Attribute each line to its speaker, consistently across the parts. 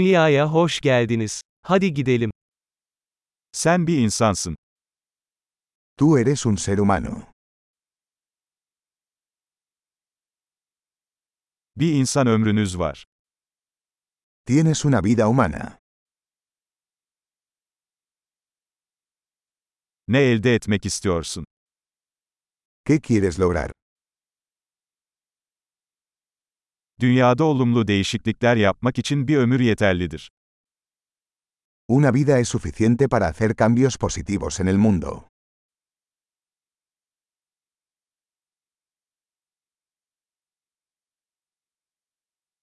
Speaker 1: Dünyaya hoş geldiniz. Hadi gidelim.
Speaker 2: Sen bir insansın.
Speaker 3: Tú eres un ser humano.
Speaker 2: Bir insan ömrünüz var.
Speaker 3: Tienes una vida humana.
Speaker 2: Ne elde etmek istiyorsun?
Speaker 3: ¿Qué quieres lograr?
Speaker 2: Dünyada olumlu değişiklikler yapmak için bir ömür yeterlidir.
Speaker 3: Una vida es suficiente para hacer cambios positivos en el mundo.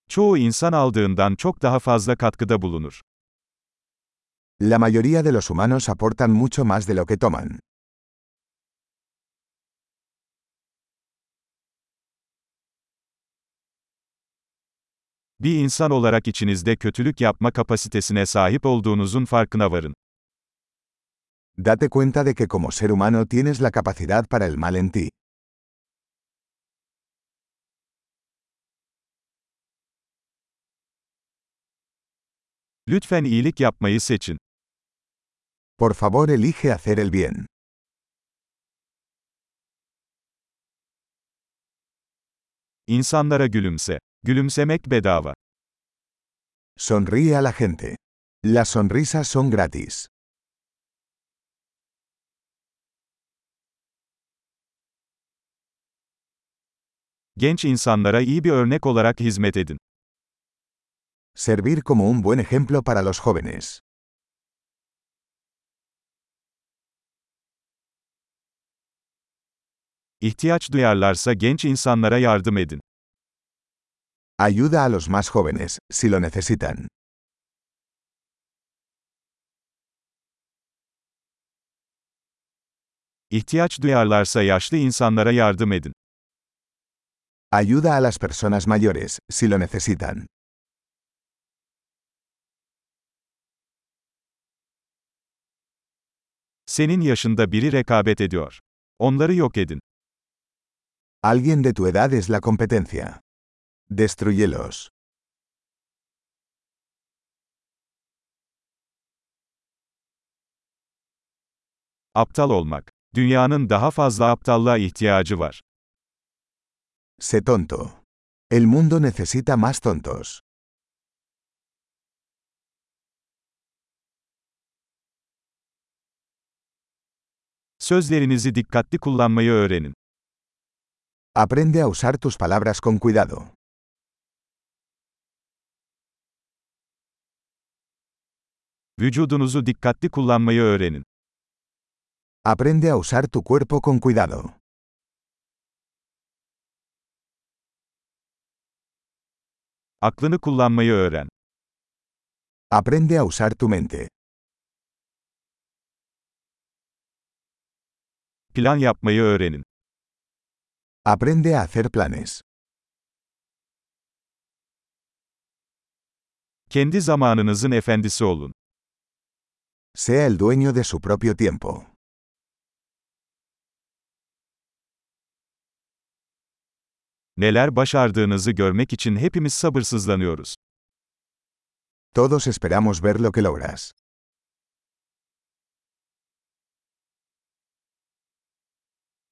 Speaker 2: Çoğu insan aldığından çok daha fazla katkıda bulunur.
Speaker 3: La mayoría de los humanos aportan mucho más de lo que toman.
Speaker 2: Bir insan olarak içinizde kötülük yapma kapasitesine sahip olduğunuzun farkına varın.
Speaker 3: Date cuenta de que como ser humano tienes la capacidad para el mal en ti.
Speaker 2: Lütfen iyilik yapmayı seçin.
Speaker 3: Por favor, elige hacer el bien.
Speaker 2: İnsanlara gülümse. Gülümsemek bedava.
Speaker 3: Sonríe a la gente. Las sonrisas son gratis.
Speaker 2: Genç insanlara iyi bir örnek olarak hizmet edin.
Speaker 3: Servir como un buen ejemplo para los jóvenes.
Speaker 2: İhtiyaç duyarlarsa genç insanlara yardım edin.
Speaker 3: Ayuda a los más jóvenes, si lo necesitan.
Speaker 2: İhtiyaç duyarlarsa yaşlı insanlara yardım edin.
Speaker 3: Ayuda a las personas mayores, si lo necesitan.
Speaker 2: Senin yaşında biri rekabet ediyor. Onları yok edin.
Speaker 3: Alguien de tu edad es la competencia. Destruyelos.
Speaker 2: Aptal olmak. Dünyanın daha fazla aptallığa ihtiyacı var.
Speaker 3: Sé tonto. El mundo necesita más tontos.
Speaker 2: Sözlerinizi dikkatli kullanmayı öğrenin.
Speaker 3: Aprende a usar tus palabras con cuidado.
Speaker 2: Vücudunuzu dikkatli kullanmayı öğrenin.
Speaker 3: Aprende a usar tu cuerpo con cuidado.
Speaker 2: Aklını kullanmayı öğren.
Speaker 3: Aprende a usar tu mente.
Speaker 2: Plan yapmayı öğrenin.
Speaker 3: Aprende a hacer planes.
Speaker 2: Kendi zamanınızın efendisi olun.
Speaker 3: Sea el dueño de su propio tiempo.
Speaker 2: Neler başardığınızı görmek için hepimiz sabırsızlanıyoruz.
Speaker 3: Todos esperamos ver lo que logras.